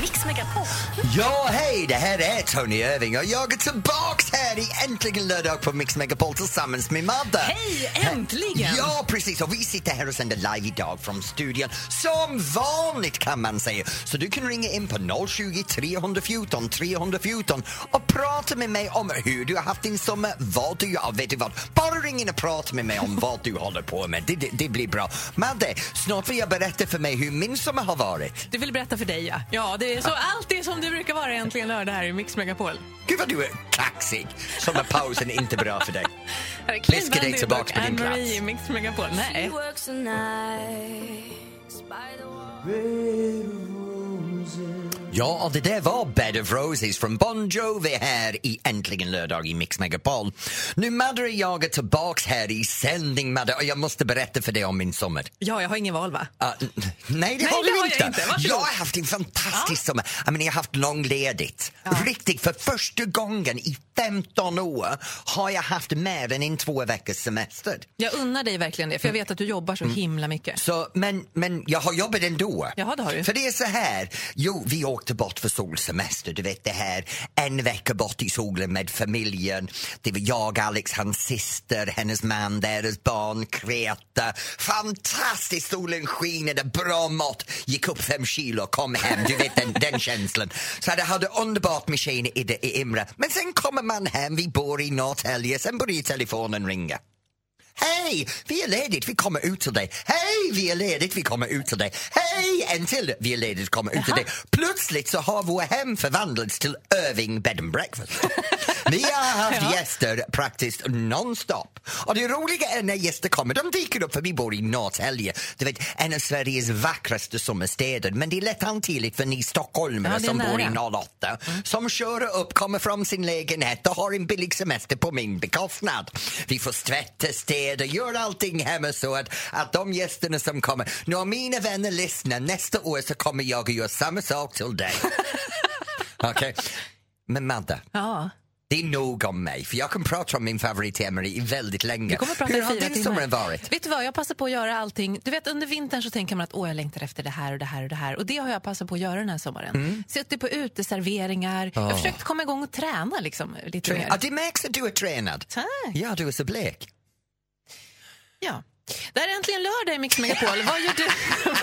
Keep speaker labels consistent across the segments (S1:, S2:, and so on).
S1: Mix Megapol.
S2: Ja, hej! Det här är Tony Irving och jag är tillbaks här i Äntligen lördag på Mix Megapol tillsammans med Madde.
S1: Hej, äntligen!
S2: Ja, precis. Och vi sitter här och sänder live idag från studion. Som vanligt kan man säga. Så du kan ringa in på 020 314 314 och prata med mig om hur du har haft din sommar, vad du gör, vet du vad. Bara ring in och prata med mig om vad du håller på med. Det, det, det blir bra. Madde, snart får jag berätta för mig hur min sommar har varit.
S3: Du vill berätta för dig, ja. ja det är så allt är som det brukar vara äntligen lördag här i Mix Megapol.
S2: Gud vad du är kaxig. Sommarpausen är inte bra för dig.
S3: Här är
S2: Läskigt dig
S3: Bandit
S2: tillbaka
S3: och
S2: på din
S3: Anne-Marie
S2: plats.
S3: i Mix Megapol. Nej.
S2: Ja, och det där var Bed of Roses från Bon Jovi här i Äntligen lördag i Mix Megapol. Nu Madde och jag är tillbaks här i sändning Madde och jag måste berätta för dig om min sommar.
S3: Ja, jag har ingen val, va?
S2: Ah, n- nej, det
S3: Nej,
S2: har
S3: det
S2: du
S3: har jag
S2: inte.
S3: inte. Varsågod.
S2: Jag har haft en fantastisk sommar. Jag, menar, jag har haft långledigt. Riktigt, för första gången i 15 år har jag haft mer än en två veckors semester.
S3: Jag unnar dig verkligen det, för jag vet att du jobbar
S2: Mm.
S3: så himla mycket.
S2: Så, men, men jag har jobbat ändå.
S3: Jaha, det har du.
S2: För det är så här, jo vi åkte bort för solsemester, du vet det här en vecka bort i solen med familjen. Det var jag, Alex, hans syster, hennes man, deras barn, Kreta. Fantastiskt, solen skinade, bra mat, gick upp fem kilo, kom hem, du vet den, den känslan. Så jag hade underbart med tjejerna i, det- i Imre. Men sen kommer man hem, vi bor i Norrtälje, sen börjar telefonen ringa. Hej, vi är ledigt, vi kommer ut till dig. Hej, vi är ledigt, vi kommer ut till dig. Hej, en till, vi är ledigt, kommer ut till dig. Plötsligt så har vår hem förvandlats till Irving Bed and Breakfast. Vi har haft gäster praktiskt nonstop. Och det roliga är när gäster kommer, de dyker upp för vi bor i Norrtälje. Du vet, en av Sveriges vackraste sommarstäder. Men det är lätt hanterligt för ni stockholmare
S3: Ja, det är
S2: som bor i
S3: nära.
S2: 08 som kör upp, kommer från sin lägenhet och har en billig semester på min bekostnad. Vi får tvätta, städa, göra allting hemma så att, att de gästerna som kommer... Nu har mina vänner lyssnat. Nästa år så kommer jag att göra samma sak till dig. Okej? Men Madde,
S3: Ja.
S2: det är nog om mig för jag kan prata om min favoritämare i väldigt länge.
S3: Du kommer att prata
S2: Hur
S3: i
S2: har
S3: fyra
S2: din
S3: timmar.
S2: sommar varit?
S3: Vet du vad, jag passar på att göra allting. Du vet under vintern så tänker man att åh jag längtar efter det här och det här och det här. Och det har jag passat på att göra den här sommaren.
S2: Mm.
S3: Suttit på uteserveringar. Jag har försökt komma igång och träna liksom lite mer.
S2: Ja, det märks att du är tränad.
S3: Tack.
S2: Ja, du är så blek.
S3: Ja. Det här är äntligen lördag i Mix Megapol. Vad gör, du,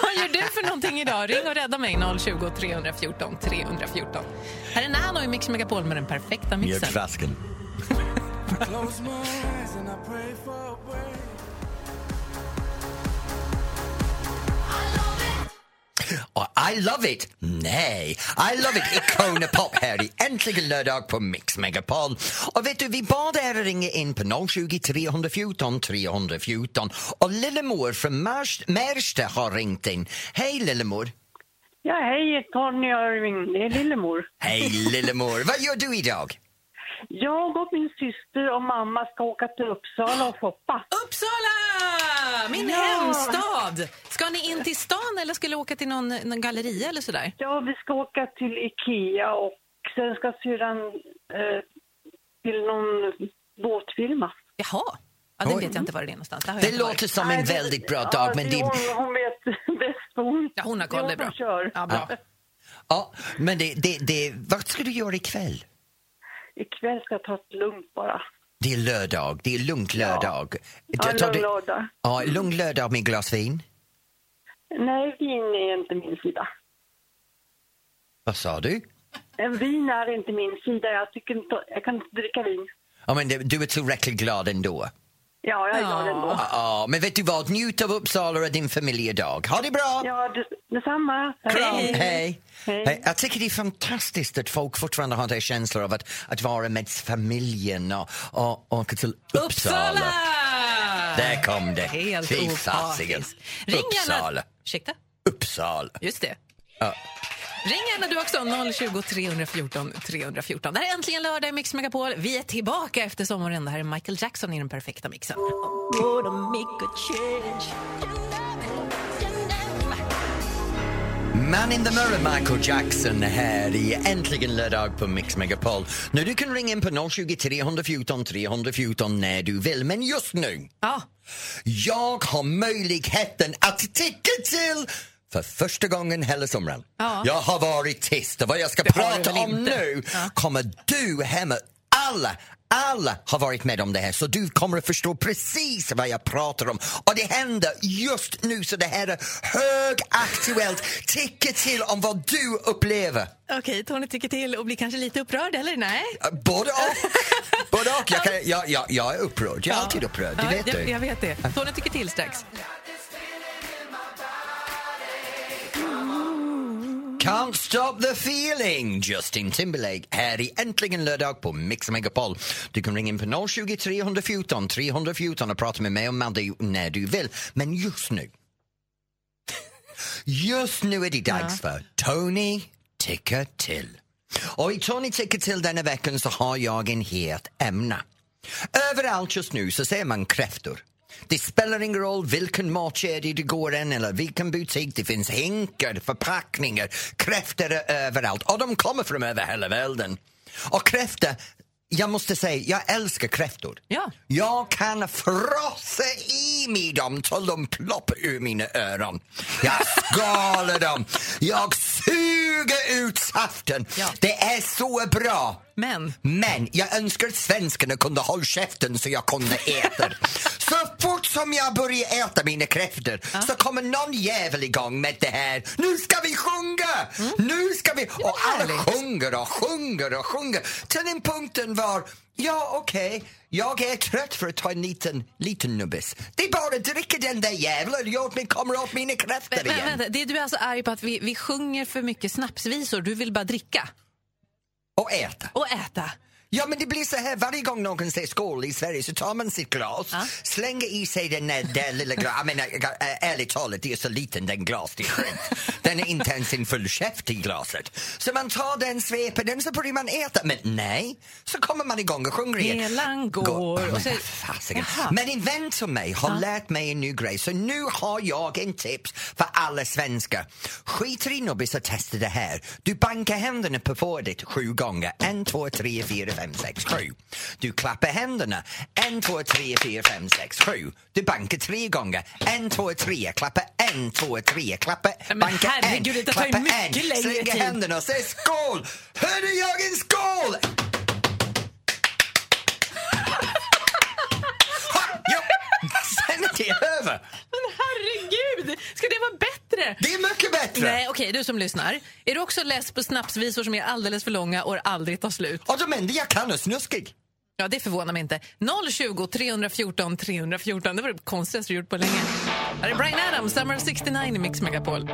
S3: vad gör du för någonting idag? Ring och rädda mig 020 314 314. Här är Nano i Mix Megapol med den perfekta mixen.
S2: Mjölkflaskan. Och I love it! Nej, I love it! Ikona Pop här i Äntligen lördag på Mix Megapol. Och vet du, vi bad er att ringa in på 020 314 314 och Lillemor från Märst- Märsta har ringt in. Hej Lillemor!
S4: Ja, hej Tony Irving, det är Lillemor.
S2: Hej Lillemor! Vad gör du idag?
S4: Jag och min syster och mamma ska åka till Uppsala och shoppa.
S3: Uppsala! Min
S4: Ja.
S3: hemstad! Ska ni in till stan eller skulle åka till någon, någon galleria eller sådär?
S4: Ja, vi ska åka till Ikea och sen ska syrran eh, till någon båtfirma.
S3: Jaha. Ja, den
S2: Oj.
S3: vet jag inte var det är någonstans. Där har jag
S2: Det
S3: inte varit.
S2: låter som en
S4: Nej, det-
S2: väldigt bra
S4: ja,
S2: dag men det är
S4: Hon, hon vet bäst. Hon,
S3: Ja, hon har koll, det är
S4: hon
S3: bra.
S4: som Kör.
S3: Ja, bra.
S2: Ja, men det, det, det, vad ska du göra ikväll?
S4: Ikväll ska jag ta ett lugnt bara.
S2: Det är lördag, det är lugnt lördag.
S4: Ja,
S2: Jag tar
S4: lugn
S2: det-
S4: lördag.
S2: Ja, lugn lördag med ett glas vin.
S4: Nej, vin är inte min sida.
S2: Vad sa du?
S4: En vin är inte min sida. Jag, tycker inte, jag kan inte dricka vin.
S2: Ja, men det- du är tillräckligt glad ändå.
S4: Ja, jag är glad
S3: Ja.
S4: ändå.
S2: Ja, ja, men vet du vad? Njut av Uppsala och din familj idag. Ha det bra!
S4: Ja, det, detsamma.
S2: Hej. Hej.
S4: Hej.
S2: Hej. Jag tycker det är fantastiskt att folk fortfarande har den här känslan av att, att vara med familjen och, och åka till Uppsala.
S3: Uppsala!
S2: Där kom det.
S3: Helt
S2: Fy fasiken.
S3: opartisk. Ring gärna...
S2: Uppsala.
S3: Ursäkta?
S2: Uppsala.
S3: Just det. Ring gärna du också, 020 314 314. Det här är äntligen lördag i Mix Megapol. Vi är tillbaka efter sommaren. Det här är Michael Jackson i den perfekta mixen.
S2: Man in the mirror, Michael Jackson här i Äntligen lördag på Mix Megapol. Nu du kan ringa in på 020 314 314 när du vill, men just nu
S3: Ja,
S2: Jag har möjligheten att ticka till för första gången hela sommaren.
S3: Ja.
S2: Jag har varit tyst och vad jag ska
S3: har du
S2: prata
S3: väl
S2: om
S3: inte?
S2: nu kommer du hemma, alla, alla har varit med om det här så du kommer att förstå precis vad jag pratar om. Och det händer just nu så det här är högaktuellt. Ticka till om vad du upplever.
S3: okej, Tony tycker till och blir kanske lite upprörd, eller? Nej?
S2: Både och. Både och. Jag, kan, jag, jag, jag är upprörd. Jag är alltid upprörd, det
S3: Ja,
S2: vet
S3: jag,
S2: du.
S3: Jag vet det. Tony tycker till strax.
S2: Can't stop the feeling! Justin Timberlake här i Äntligen lördag på Mix Megapol. Du kan ringa in på 020 314 314 och prata med mig och Madde när du vill. Men just nu... Just nu är det dags för Tony Ticker till. Och i Tony Ticker till denna veckan så har jag en het ämne. Överallt just nu så ser man kräftor. Det spelar ingen roll vilken matkedja du går in eller vilken butik. Det finns hinkar, förpackningar, kräftor är överallt och de kommer från över hela världen. Och kräftor, jag måste säga, jag älskar kräftor.
S3: Ja.
S2: Jag kan frossa i mig dem till de ploppar ur mina öron. Jag skalar dem. Jag suger ut saften.
S3: Ja.
S2: Det är så bra.
S3: Men...
S2: Men jag önskar att svenskarna kunde hålla käften så jag kunde äta. så fort som jag börjar äta mina kräftor så kommer någon jävel igång med det här. Nu ska vi sjunga! Nu ska vi... Och alla
S3: Mm. härligt.
S2: sjunger och sjunger och sjunger. Till den punkten var, ja okej, jag är trött för att ta en liten, liten nubbis. Det är bara att dricka den där jäveln och åt mig kommer åt mina kräftor
S3: Men,
S2: igen.
S3: vänta, det du är alltså arg på att vi, vi sjunger för mycket snapsvisor. Du vill bara dricka
S2: Och äta.
S3: och äta.
S2: Ja, men det blir så här varje gång någon säger skål i Sverige så tar man sitt glas, slänger i sig den där, där lilla glaset. Jag menar, jag- äh, ärligt talat, det är så liten den glas, det är skönt. Den är inte ens en full käft i glaset. Så man tar den, sveper den, så börjar man äta. Men nej, så kommer man igång och sjunger igen.
S3: Elan går.
S2: Gå-
S3: Och
S2: Men
S3: så-
S2: vad fasiken.
S3: Jaha.
S2: Men en vän till mig har lärt mig en ny grej så nu har jag en tips för alla svenskar. Skit i nubbis och testa det här. Du bankar händerna på bordet sju gånger. En, två, tre, fyra, fem, sex, sju. Du klappar händerna. En, två, tre, fyra, fem, sex, sju. Du bankar tre gånger. En, två, tre. Klappa en, två, tre. Klappa,
S3: men
S2: banka
S3: herregud,
S2: en.
S3: det tar ju
S2: klappa
S3: mycket
S2: en.
S3: längre
S2: Slänger
S3: tid.
S2: händerna och säger skål! Hörde jag en skål? Ha! Ja. Sen är det över.
S3: Men herregud, ska det vara bättre?
S2: Det är mycket bättre.
S3: Nej, okej, du som lyssnar. Är du också less på snapsvisor som är alldeles för långa och aldrig tar slut?
S2: Och de enda jag kan är snuskig.
S3: Ja, det förvånar mig inte. 020 314 314. Det var det konstigaste du gjort på länge. Här är Brian Adams, Summer of 69 i Mix Megapol.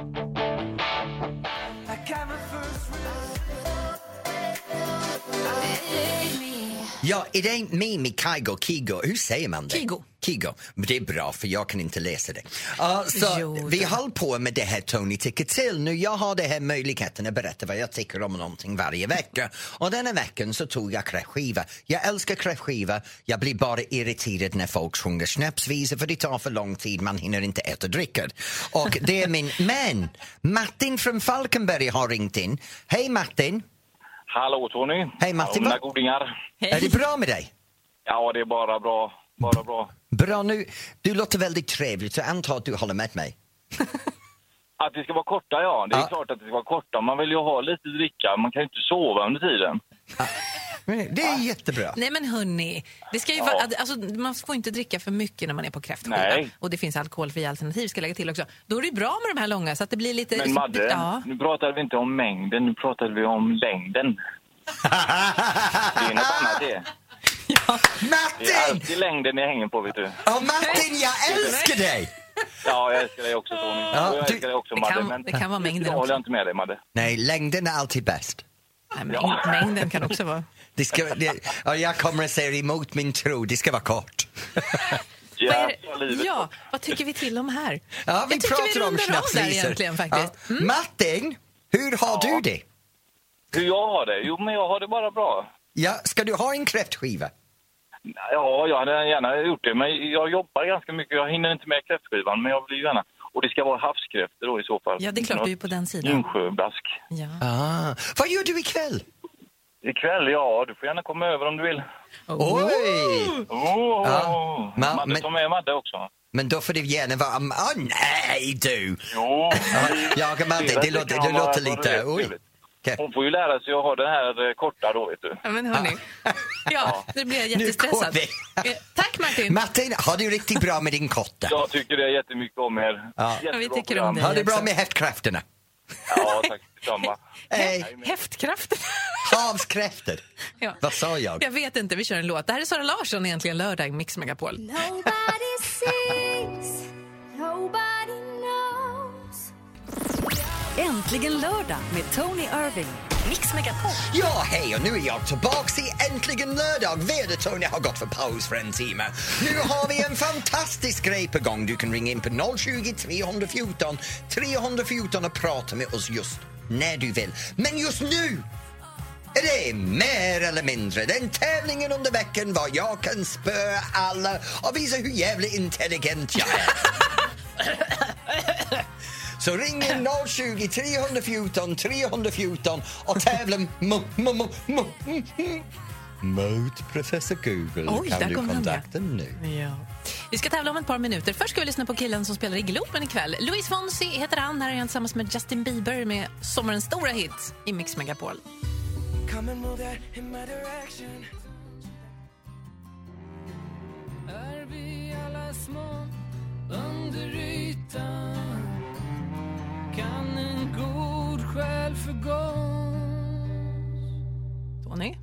S2: Ja, är det inte Mimi Kaigo Kigo? Hur säger man det?
S3: Kigo.
S2: Kigo. Men det är bra, för jag kan inte läsa det. Ja, så
S3: Jo,
S2: vi
S3: det-
S2: håller på med det här Tony tycker till. Nu jag har det här möjligheten att berätta vad jag tycker om någonting varje vecka. Och denna veckan så tog jag kräftskiva. Jag älskar kräftskiva. Jag blir bara irriterad när folk sjunger snapsvisor för det tar för lång tid. Man hinner inte äta och dricka. Och det är min... Men! Martin från Falkenberg har ringt in. Hej Martin!
S5: Hallå Tony!
S2: Hej, Martin.
S5: Hallå, mina godingar!
S2: Är det bra med dig?
S5: Ja, det är bara bra. Bara bra.
S2: Bra, nu, du låter väldigt trevlig så jag antar att du håller med mig.
S5: Att det ska vara korta, ja. Det är
S2: Ja.
S5: klart att det ska vara korta. Man vill ju ha lite dricka. Man kan ju inte sova under tiden.
S2: Det är jättebra.
S3: Nej men hörni, det ska ju vara, alltså, man får inte dricka för mycket när man är på kräftskiva.
S5: Nej.
S3: Och det finns alkoholfria alternativ ska jag lägga till också. Då är det ju bra med de här långa så att det blir lite...
S5: Men Madde,
S3: Ja.
S5: nu pratade vi inte om mängden. Nu pratade vi om längden. Det är något annat det. Det är
S2: Martin!
S5: alltid längden det hänger på, vet du.
S2: Oh, Martin, jag älskar dig!
S5: Ja, jag älskar dig också Tony.
S2: Ja,
S5: och jag
S2: du-
S5: älskar dig också
S3: Det
S5: Madde.
S3: kan-
S5: men
S3: det kan vara mängden
S5: idag håller
S3: också.
S5: jag inte med dig Madde.
S2: Nej, längden är alltid bäst.
S3: Nej, men Mängden kan också vara...
S2: Det ska, det, ja, jag kommer att säga emot min tro, det ska vara kort.
S5: Ja,
S3: vad är det-
S5: livet.
S3: ja, vad tycker vi till om här?
S2: Ja, vi
S3: jag tycker
S2: pratar
S3: vi
S2: om
S3: rundar av där
S2: snapsvisor.
S3: egentligen faktiskt. Mm.
S2: Ja. Martin, Hur har du det?
S5: Hur jag har det? Jo, men jag har det bara bra.
S2: Ja, ska du ha en kräftskiva?
S5: Ja, jag hade gärna gjort det, men jag jobbar ganska mycket. Jag hinner inte med kräftskivan, men jag vill ju gärna. Och det ska vara havskräftor då i så fall.
S3: Ja, det är klart, du är på den sidan.
S5: Insjöblask.
S3: Ja.
S2: Ah. Vad gör du ikväll?
S5: Ikväll, ja, du får gärna komma över om du vill.
S2: Oj!
S5: Oh,
S2: Ja, men-
S5: Madde,
S2: men-
S5: ta med Madde också.
S2: Men då får det gärna vara... Ah, nej du!
S5: Jo,
S2: Ja, men det, det, låter, det låter lite... Oj. Okej.
S5: Hon får ju lära sig att ha den här eh, korta då, vet du.
S3: Ja, men hörni. Ja, nu blir jag
S2: Nu går
S3: jättestressad.
S2: vi.
S3: Eh, Tack Martin.
S2: Martin, har du riktigt bra med din kotte?
S5: Jag tycker det är jättemycket om er.
S2: Ja.
S5: Jättebra
S3: Ja, vi tycker
S5: program.
S3: om dig.
S2: Har du bra med häftkräftorna?
S5: Ja, tack detsamma.
S2: Hej!
S3: Häftkraften.
S2: Havskräftor!
S3: Ja.
S2: Vad sa jag?
S3: Jag vet inte, vi kör en låt. Det här är Sara Larsson egentligen lördag i Mix Megapol.
S6: Nobody sees, nobody knows.
S1: Äntligen lördag med Tony Irving. Mix Megapol.
S2: Ja, hej och nu är jag tillbaks i Äntligen lördag. Väder-Tony har gått för paus för en timme. Nu har vi en fantastisk grej på gång. Du kan ringa in på 020 314 314 och prata med oss just när du vill. Men just nu är det mer eller mindre den tävlingen under veckan var jag kan spöa alla och visa hur jävla intelligent jag är. Så ring in 020 314 314 och tävla m- m- m- m- m- mot professor Google.
S3: Oj,
S2: kan
S3: där
S2: du
S3: kom han
S2: kontakta nu?
S3: Ja. Vi ska tävla om ett par minuter. Först ska vi lyssna på killen som spelar i Globen ikväll. Louis Fonsi heter han. Här är han tillsammans med Justin Bieber med sommarens stora hit i Mix Megapol. Tony?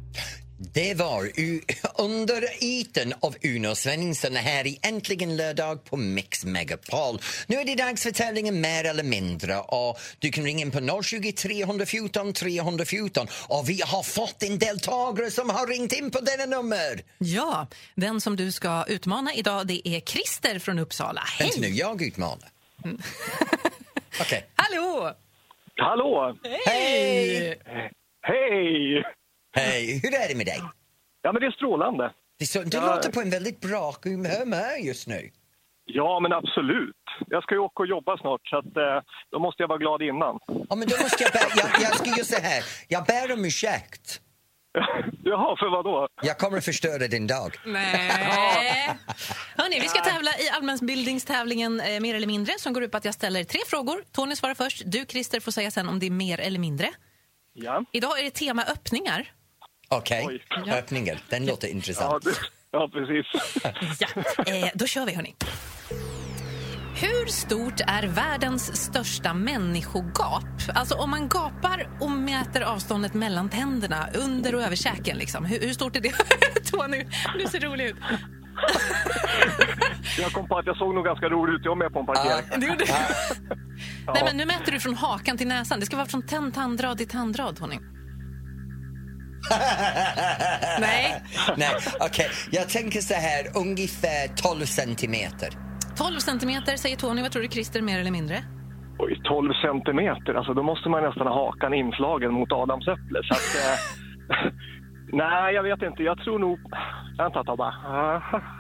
S2: Det var u- under ytan av Uno Svensson här i Äntligen lördag på Mix Megapol. Nu är det dags för tävlingen Mer eller mindre och du kan ringa in på 020 314 314 och vi har fått en deltagare som har ringt in på denna nummer.
S3: Ja, den som du ska utmana idag det är Christer från Uppsala.
S2: Vänta nu,
S3: Hej!
S2: jag utmanar. Okej.
S3: Hallå!
S7: Hallå!
S2: Hej!
S7: Hej!
S2: Hej, hur är det med dig?
S7: Ja, men det är strålande.
S2: Det så, du
S7: Ja.
S2: låter på en väldigt bra humör just nu.
S7: Ja, men absolut. Jag ska ju åka och jobba snart, så att, eh, då måste jag vara glad innan.
S2: Ja, men då måste jag, bä- jag, jag ska göra så här. Jag ber om ursäkt.
S7: Jaha, för vad då?
S2: Jag kommer att förstöra din dag.
S3: Nej. Hörni, vi ska tävla i allmänbildningstävlingen eh, Mer eller mindre som går ut på att jag ställer tre frågor. Tony svarar först, du Christer får säga sen om det är mer eller mindre.
S7: Ja,
S3: Idag är det tema öppningar.
S2: Okej,
S7: Oj.
S2: öppningen. Den låter
S7: ja,
S2: intressant.
S7: du, ja precis.
S3: Ja. Eh, då kör vi hörni. Hur stort är världens största människogap? Alltså om man gapar och mäter avståndet mellan tänderna, under och över käken liksom. Hur, hur stort är det? Tony, du ser rolig ut.
S7: Jag kom på att jag såg nog ganska rolig ut jag med på en parkering.
S3: Det gjorde du. Nej, men nu mäter du från hakan till näsan. Det ska vara från tänd tandrad till tandrad, Tony. Nej,
S2: Nej, okej. Jag tänker så här, ungefär 12 centimeter.
S3: 12 centimeter säger Tony. Vad tror du, Christer, mer eller mindre?
S7: Oj, 12 centimeter. Alltså, då måste man nästan ha hakan inslagen mot Adams äpple. Så att, eh, nej, jag vet inte. Jag tror nog... Vänta, ta bara.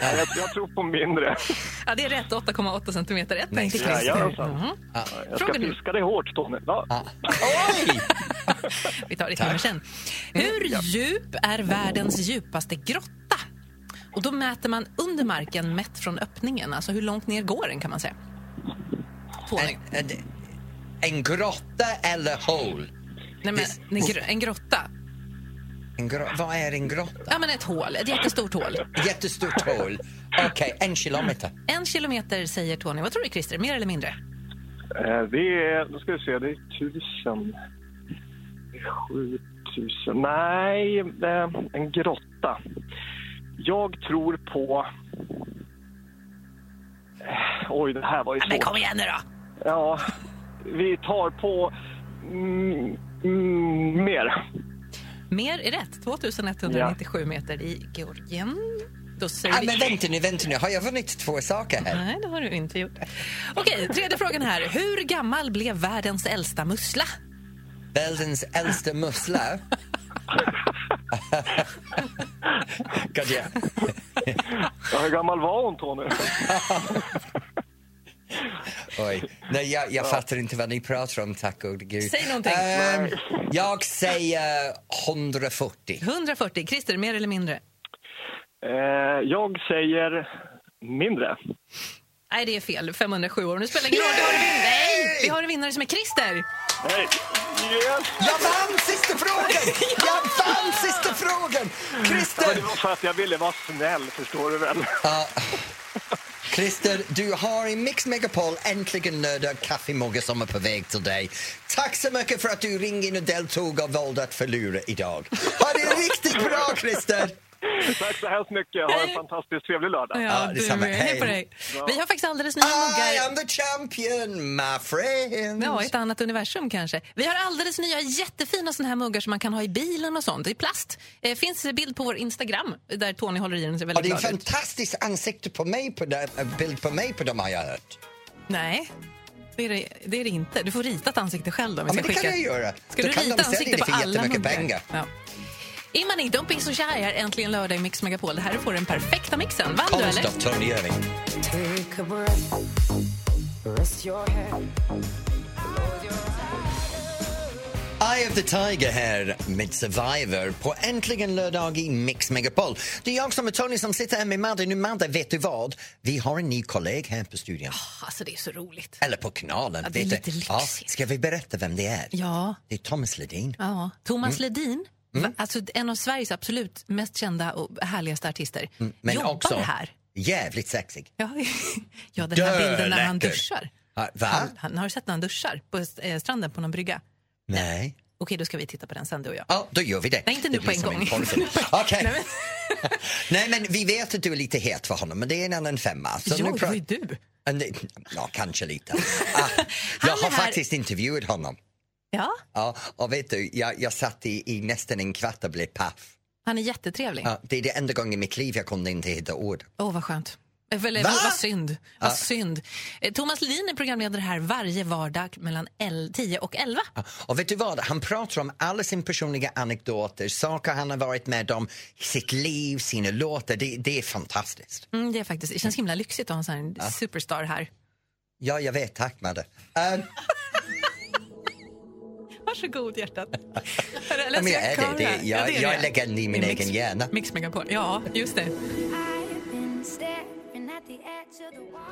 S7: jag, jag tror på mindre.
S3: Ja, det är rätt. 8,8 centimeter. Ett poäng till Christer.
S7: Jajamensan.
S3: Mhm.
S7: Jag ska
S3: Fråga nu.
S7: piska dig hårt, Tony. Ja.
S2: Oj!
S3: Vi tar ditt nummer sen. Hur djup är världens djupaste grotta? Och då mäter man under marken mätt från öppningen. Alltså hur långt ner går den kan man säga. Tony.
S2: En, en, en grotta eller hål?
S3: Nej, men, en gr- en grotta.
S2: En gro- vad är en grotta?
S3: Ja, men ett hål. Ett jättestort hål.
S2: Jättestort hål. Okej, en kilometer.
S3: En kilometer säger Tony. Vad tror du Christer, mer eller mindre?
S7: Eh, Det är, då ska vi se, det är tusen. Det är sju tusen. Nej, eh, en grotta. Jag tror på... Eh, Oj, det här var ju
S3: Men
S7: svårt.
S3: kom igen nu då!
S7: Ja, vi tar på... Mm, mm, mer.
S3: Mer är rätt. 2197 meter i Georgien. Då säger
S2: Ah,
S3: vi...
S2: men vänta nu, vänta nu. Har jag vunnit två saker här?
S3: Nej, det har du inte gjort. Okej, tredje frågan här. Hur gammal blev världens äldsta mussla?
S2: Världens äldsta mussla. God, yeah.
S7: Ja, hur gammal var hon, Tony?
S2: Oj. Nej, jag, jag fattar inte vad ni pratar om, tack gode gud.
S3: Säg någonting.
S2: Ehm, jag säger 140.
S3: 140. Christer, mer eller mindre?
S7: Eh, jag säger mindre.
S3: Nej, det är fel. 507 år. Nu spelar ingen roll. Vi har en vinnare. Nej, vi har en vinnare som är Christer.
S7: Hej! Yes!
S2: Jag vann sista frågan! Jag vann sista frågan!
S7: Men det
S2: Christer!
S7: var för att jag ville vara snäll, förstår du väl?
S2: Ja. Christer, du har i Mix Megapol äntligen lördag kaffemuggar som är på väg till dig. Tack så mycket för att du ringde in och deltog och valde att förlora idag. Ha det riktigt bra, Christer!
S7: Tack så hemskt mycket. Ha en fantastiskt trevlig lördag.
S2: Ja,
S3: du,
S2: detsamma.
S3: hej på dig. Vi har faktiskt alldeles
S2: Ah,
S3: nya
S2: I
S3: muggar.
S2: am the champion, my friend!
S3: Ja, ett annat universum kanske. Vi har alldeles nya jättefina såna här muggar som man kan ha i bilen och sånt. I plast. Eh, finns en bild på vår Instagram där Tony håller i den.
S2: Ja,
S3: Ser väldigt
S2: det är
S3: glad ut.
S2: fantastiskt ansikte på mig på den, en bild på mig på dem har jag hört.
S3: Nej, det är det, det är det inte. Du får rita ett ansikte själv. Då, om vi
S2: Ja, men
S3: ska
S2: det kan
S3: skicka.
S2: jag göra.
S3: Ska
S2: Då
S3: du
S2: kan
S3: rita
S2: de sälja
S3: ansikte
S2: det
S3: på
S2: för
S3: alla
S2: jättemycket
S3: muggar?
S2: pengar.
S3: Ja. Imani, Don't Be So Shy är äntligen lördag i Mix Megapol. Det här är får den perfekta mixen. Vann du, eller?
S2: Konst av Tony Irving. Eye of the Tiger här med Survivor på Äntligen lördag i Mix Megapol. Det är jag som är Tony som sitter här med Madde. Nu Madde, vet du vad? Vi har en ny kollega här på studion.
S3: Alltså, det är så roligt.
S2: Eller på kanalen.
S3: Ja, det är
S2: vet du.
S3: lite
S2: Ja,
S3: lyxigt.
S2: ska vi berätta vem det är?
S3: Ja,
S2: Det är Thomas Ledin.
S3: ja.
S2: Mm.
S3: Thomas Ledin, va- alltså en av Sveriges absolut mest kända och härligaste artister,
S2: Mm. Men
S3: jobbar
S2: också
S3: här.
S2: jävligt sexig.
S3: Ja, ja den här
S2: Dör
S3: bilden när han
S2: läcker.
S3: duschar.
S2: Ja, Va?
S3: Han, han, har du sett när han duschar på eh, stranden på någon brygga?
S2: Nej.
S3: Okej, då ska vi titta på den sen, du och jag.
S2: Ja, då gör vi det.
S3: Nej, inte nu
S2: Det blir
S3: på en
S2: som
S3: gång.
S2: porrfilm. Okej.
S3: Nej, men-
S2: Nej, men vi vet att du är lite het för honom, men det är en annan femma. Så
S3: Jo,
S2: nu
S3: det var
S2: pra-
S3: ju du.
S2: Ja, nej, ja, kanske lite. Ah, jag
S3: är
S2: har
S3: här-
S2: faktiskt intervjuat honom.
S3: Ja,
S2: Ja, och vet du, jag, jag satt i, i nästan en kvart och blev paff.
S3: han är jättetrevlig.
S2: Ja, det är det enda gången i mitt liv jag kunde inte hitta ord.
S3: Åh, vad skönt. Eller,
S2: Va?
S3: Vad synd. Vad synd. Eh, Thomas Ledin är programledare här varje vardag mellan el- 10 och 11.
S2: Och vet du vad? Han pratar om alla sina personliga anekdoter, saker han har varit med om, sitt liv, sina låtar. Det, det är fantastiskt.
S3: Mm, det, är faktiskt, det känns himla lyxigt att ha en sån här superstar här.
S2: Ja, jag vet. Tack, Madde. Ehm,
S3: Varsågod, hjärtat. Är det- eller
S2: Ja, men
S3: ser
S2: jag är det.
S3: kamera?
S2: det är,
S3: Ja,
S2: jag,
S3: det är
S2: jag
S3: det.
S2: är legend i min
S3: Det är mix-
S2: egen hjärna.
S3: Mix Megapol. Ja, just det.
S6: I've been staring at the edge of the wall.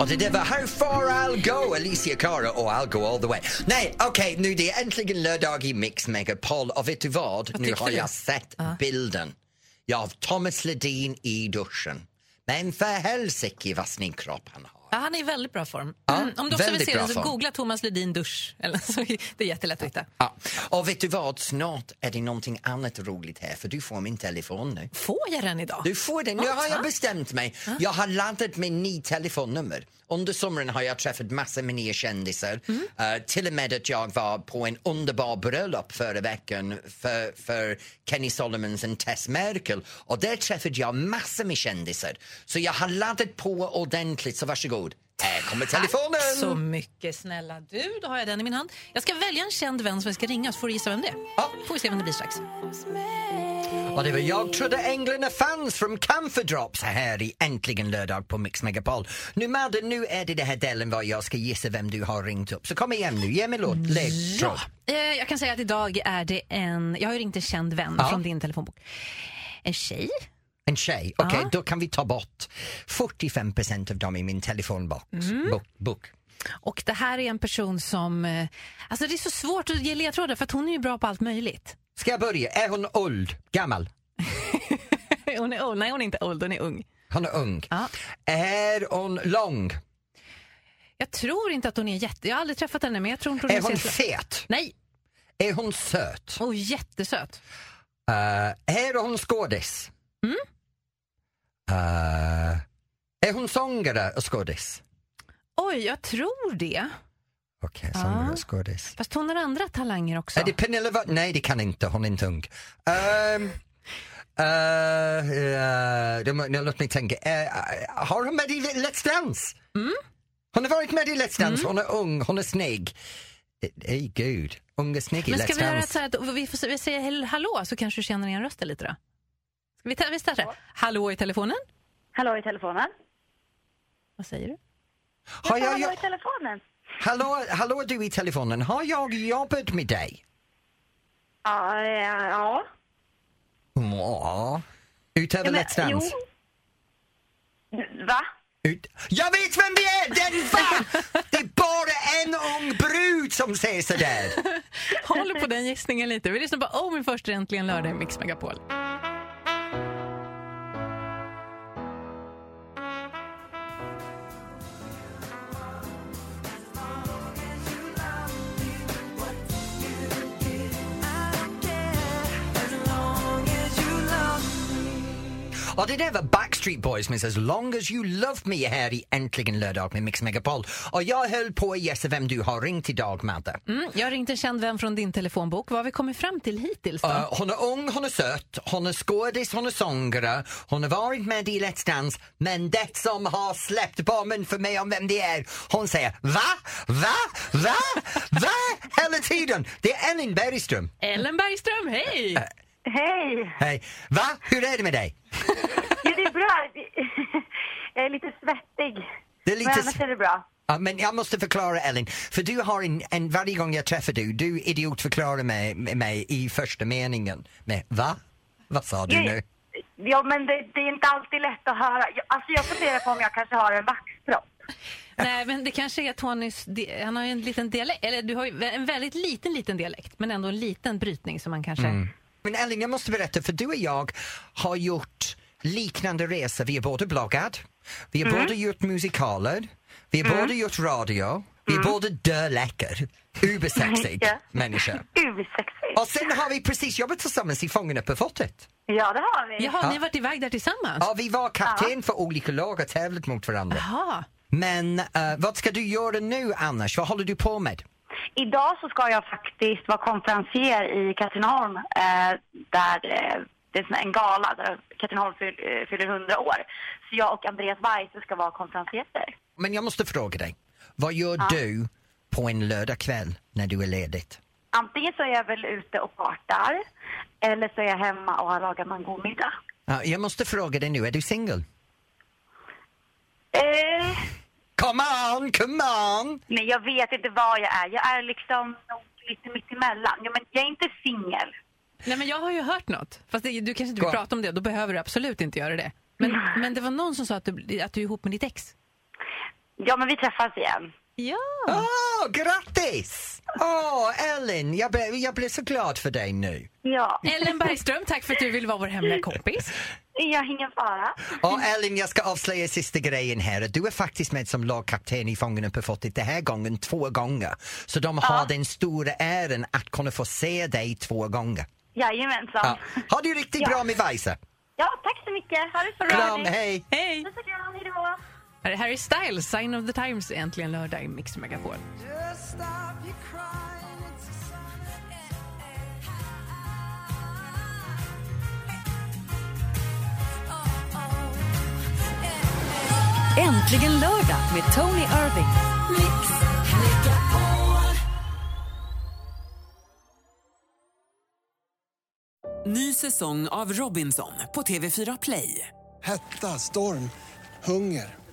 S2: Och det där var How far I'll go, Alicia Cara och I'll go all the way. Nej, okej, nu det är äntligen lördag i Mix Megapol och vet du vad? nu
S3: tyckte
S2: har
S3: du?
S2: jag sett bilden ja, av Thomas Ledin i duschen. Men för helsike vad snygg kropp han har.
S3: Ja, han är i väldigt bra form. Mm, om du också vill
S2: väldigt
S3: se
S2: bra
S3: det, så
S2: form.
S3: googla Thomas Ledin dusch. Eller, så, det är jättelätt att hitta.
S2: Ja. Och vet du vad, snart är det någonting annat roligt här för du får min telefon nu.
S3: Får jag den idag?
S2: Du får den. Nu
S3: Ja,
S2: har jag
S3: Ah, tack. Ah.
S2: bestämt mig. Jag har laddat med ny telefonnummer. Under sommaren har jag träffat massor med nya kändisar.
S3: Mm.
S2: Eh, till och med att jag var på en underbar bröllop förra veckan för, för Kenny Solomons och Tess Merkel. Och där träffade jag massor med kändisar. Så jag har laddat på ordentligt, så varsågod. Här kommer
S3: Tack så
S2: telefonen!
S3: mycket snälla du. Då har jag den i min hand. Jag ska välja en känd vän som jag ska ringa så får du gissa vem det är.
S2: Ja.
S3: Får vi se vem det blir strax.
S2: Och det var Jag trodde änglarna fanns från Camphor Drops här i Äntligen lördag på Mix Megapol. Nu Madde, nu är det den här delen var jag ska gissa vem du har ringt upp. Så kom igen nu, ge mig låt, ledtråd.
S3: Eh, jag kan säga att idag är det en... Jag har ju ringt en känd vän
S2: Ja.
S3: från din telefonbok. En tjej.
S2: En tjej, okej då kan vi ta bort 45 procent av dem i min telefonbox. Bok, bok.
S3: Och det här är en person som... eh, Alltså det är så svårt att ge ledtrådar för att hon är ju bra på allt möjligt.
S2: Ska jag börja? Är hon old? Gammal?
S3: hon är old. Nej, hon är inte old. Hon är ung.
S2: Hon är ung.
S3: Ja.
S2: Är hon lång?
S3: Jag tror inte att hon är jätte... Jag har aldrig träffat henne men jag tror inte hon
S2: Är hon
S3: så-
S2: fet?
S3: Nej,
S2: Är hon söt?
S3: hon är jättesöt.
S2: Eh, är hon skådis?
S3: Mm.
S2: Eh, är hon sångare och skådis?
S3: Oj, jag tror det.
S2: Okej, sångare och skådis.
S3: Fast hon har andra talanger också.
S2: Är det Pernilla Wa- Nej, det kan inte. Hon är inte ung. Ehm, Eh, eh, det må- nu, låt mig tänka. Eh, har hon med i Let's Dance?
S3: Mm.
S2: Hon har varit med i Let's Dance. Hon är ung, hon är snygg. Eh, Ej, gud. Ung och snygg i
S3: Men
S2: Let's
S3: ska vi
S2: Dance.
S3: göra så här att vi, får, vi säger hell- hallå så kanske du känner igen rösten lite då? Ska vi, ta, vi startar? Hallå i telefonen?
S8: Hallå i telefonen.
S3: Vad säger du?
S2: Har jag,
S8: Hallå
S2: jag,
S8: i telefonen.
S2: hallå, hallå du i telefonen. Har jag jobbat med dig?
S8: Ja, ja, ja.
S2: Ja. Utöver
S8: Ja, men-
S2: Let's Dance?
S8: Jo. Va?
S2: Ut. Jag vet vem det är! Den fan! Det är bara en ung brud som säger sådär.
S3: Håll på den gissningen lite. Vi lyssnar på Oh min första äntligen lördag i Mix Megapol.
S2: Och det där var Backstreet Boys med As long as you love me här i Äntligen lördag med Mix Megapol. Och jag höll på att gissa vem du har ringt idag, Madde.
S3: Mm, jag har ringt en känd vän från din telefonbok. Vad har vi kommit fram till hittills då?
S2: Eh, hon är ung, hon är söt, hon är skådis, hon är sångare, hon har varit med i Let's Dance men det som har släppt bomben för mig om vem det är, hon säger va, va, va, va hela tiden. Det är Elin Bergström.
S3: Ellen Bergström, hej!
S8: Hej!
S2: Hej. Va? Hur är det med dig?
S8: Jo, det är bra. Jag är lite svettig.
S2: Det är lite
S8: Men
S2: s-
S8: annars är det bra.
S2: Ja, men jag måste förklara Ellen, för du har en, en varje gång jag träffar dig, du idiotförklarar mig, mig i första meningen med va? Vad sa du nu?
S8: Ja, men det, det är inte alltid lätt att höra. Jag, alltså, jag funderar på om jag kanske har en vaxpropp.
S3: Nej, men det kanske är att hon är, di- han har ju en liten dialekt, eller du har ju en väldigt liten, liten dialekt, men ändå en liten brytning som man kanske...
S2: Mm. Men Ellen, jag måste berätta, för du och jag har gjort liknande resor. Vi är båda bloggat, vi har båda gjort musikaler, vi har båda gjort radio, vi är båda döläcker, ubersexig
S8: Ja.
S2: människa.
S8: Ursexigt.
S2: Och sen har vi precis jobbat tillsammans i Fångarna på fortet.
S8: Ja, det har vi.
S3: Jaha, ni har varit iväg där tillsammans?
S2: Ja, vi var kapten för olika lag och tävlat mot varandra.
S3: Jaha.
S2: Men eh, vad ska du göra nu annars? Vad håller du på med?
S8: Idag så ska jag faktiskt vara konferencier i Katrineholm eh, där eh, det är sån- en gala där Katrineholm fyll, eh, fyller 100 år. Så jag och Andreas Weise ska vara konferencierer.
S2: Men jag måste fråga dig. Vad gör du på en lördagkväll när du är ledigt?
S8: Antingen så är jag väl ute och partar eller så är jag hemma och har lagat mig en god middag.
S2: Ja, jag måste fråga dig nu, är du singel?
S8: Eh,
S2: Come on, come on!
S8: nej, jag vet inte vad jag är. Jag är liksom nog lite mittemellan. Ja, men jag är inte singel.
S3: Nej, men jag har ju hört något. Fast det, du kanske inte vill
S2: Kom.
S3: prata om det, då behöver du absolut inte göra det. Men, men det var någon som sa att du, att du är ihop med ditt ex.
S8: Ja, men vi träffas igen.
S3: Ja.
S2: Åh, grattis! Åh, Ellen, jag, ble, jag blev så glad för dig nu.
S8: Ja,
S3: Ellen Bergström, tack för att du vill vara vår hemliga kompis.
S8: jag ingen fara.
S2: Och
S8: Mm.
S2: Ellen, jag ska avslöja sista grejen här. Du är faktiskt med som lagkapten i Fångarna på fortet den här gången två gånger. Så de har den stora äran att kunna få se dig två gånger.
S8: Jajamensan.
S2: Ja.
S8: Ja.
S2: Ha det riktigt bra med Weise.
S8: ja, tack så mycket. Ha det så bra.
S2: Kram, hej!
S3: Hej!
S8: Puss och kram, hej då.
S3: Här är Harry Styles, Sign of the Times, äntligen lördag i Mix Megapol.
S1: Äntligen lördag med Tony Irving.
S9: Ny säsong av Robinson på TV4 Play.
S10: Hetta, storm, hunger.